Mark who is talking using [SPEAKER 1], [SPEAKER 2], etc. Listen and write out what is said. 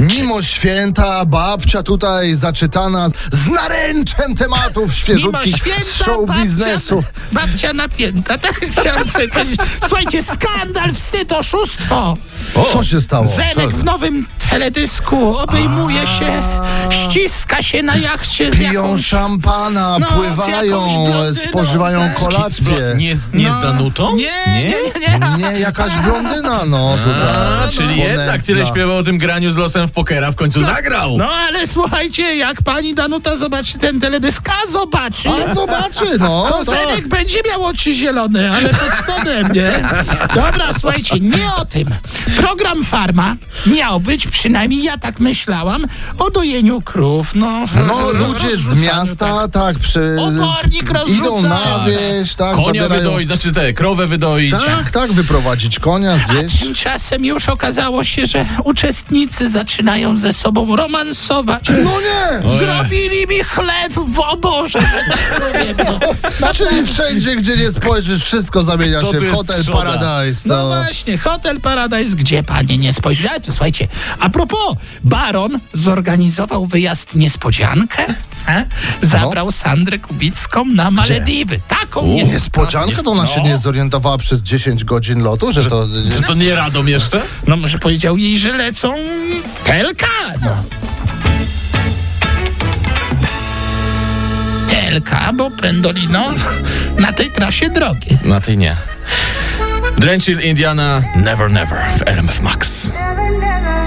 [SPEAKER 1] Mimo święta babcia tutaj zaczytana z naręczem tematów świeżutkich z show biznesu.
[SPEAKER 2] Babcia, babcia napięta, tak chciałem sobie powiedzieć. Słuchajcie, skandal, wstyd, oszustwo.
[SPEAKER 1] Co się stało?
[SPEAKER 2] Zenek w nowym teledysku obejmuje się, ściska się na jachcie z
[SPEAKER 1] Piją
[SPEAKER 2] jakąś...
[SPEAKER 1] szampana,
[SPEAKER 2] No, z
[SPEAKER 1] pływają,
[SPEAKER 2] jakąś blondyną,
[SPEAKER 1] spożywają
[SPEAKER 2] tak.
[SPEAKER 1] kolację.
[SPEAKER 3] Nie, z- nie z Danutą?
[SPEAKER 2] No, Nie, nie, nie, No nie.
[SPEAKER 1] Nie, jakaś blondyna, no tutaj.
[SPEAKER 3] A, czyli jednak tyle
[SPEAKER 1] Ponętna.
[SPEAKER 3] śpiewał o tym graniu z losem w pokera, w końcu zagrał.
[SPEAKER 2] No ale słuchajcie, jak pani Danuta zobaczy ten teledysk, a zobaczy...
[SPEAKER 1] A zobaczy, no. tak.
[SPEAKER 2] To Zenek będzie miał oczy zielone, ale pod spodem, nie? Dobra, słuchajcie, nie o tym. Program Farma miał być, przynajmniej ja tak myślałam, o dojeniu krów, no.
[SPEAKER 1] No, ludzie z
[SPEAKER 2] rozrzucaniu, tak.
[SPEAKER 1] miasta, tak, przy...
[SPEAKER 2] Obornik
[SPEAKER 1] Idą
[SPEAKER 2] rozrzuca.
[SPEAKER 1] na wieś, tak,
[SPEAKER 3] Konia
[SPEAKER 1] zabierają...
[SPEAKER 3] wydoić, znaczy te, krowę wydoić.
[SPEAKER 1] Tak, tak, wyprowadzić konia,
[SPEAKER 2] A
[SPEAKER 1] zjeść.
[SPEAKER 2] tymczasem już okazało się, że uczestnicy zaczynają ze sobą romansować.
[SPEAKER 1] No nie!
[SPEAKER 2] Zrobili mi chleb w oborze, że tak powiem, no.
[SPEAKER 1] Czyli wszędzie, gdzie Znaczy, nie spojrzysz, wszystko zamienia
[SPEAKER 3] To
[SPEAKER 1] się
[SPEAKER 3] tu
[SPEAKER 1] w
[SPEAKER 3] jest
[SPEAKER 1] Hotel
[SPEAKER 3] trzoda.
[SPEAKER 1] Paradise.
[SPEAKER 2] No
[SPEAKER 1] No.
[SPEAKER 2] właśnie, Hotel Paradise, gdzie panie nie spojrzały. To Słuchajcie, a propos, Baron zorganizował wyjazd niespodziankę. E?
[SPEAKER 1] No.
[SPEAKER 2] Zabrał Sandrę Kubicką na Malediwy. Taką niespodziankę.
[SPEAKER 1] Niespodzianka to
[SPEAKER 3] no.
[SPEAKER 1] ona się nie zorientowała przez 10 godzin lotu, że to...
[SPEAKER 3] Czy to nie Radom jeszcze?
[SPEAKER 2] No może powiedział jej, że lecą Telka. No. Telka, bo Pendolino na tej trasie drogie.
[SPEAKER 3] Na tej nie. Drenchill Indiana Never Never w RMF Max.
[SPEAKER 4] never, never.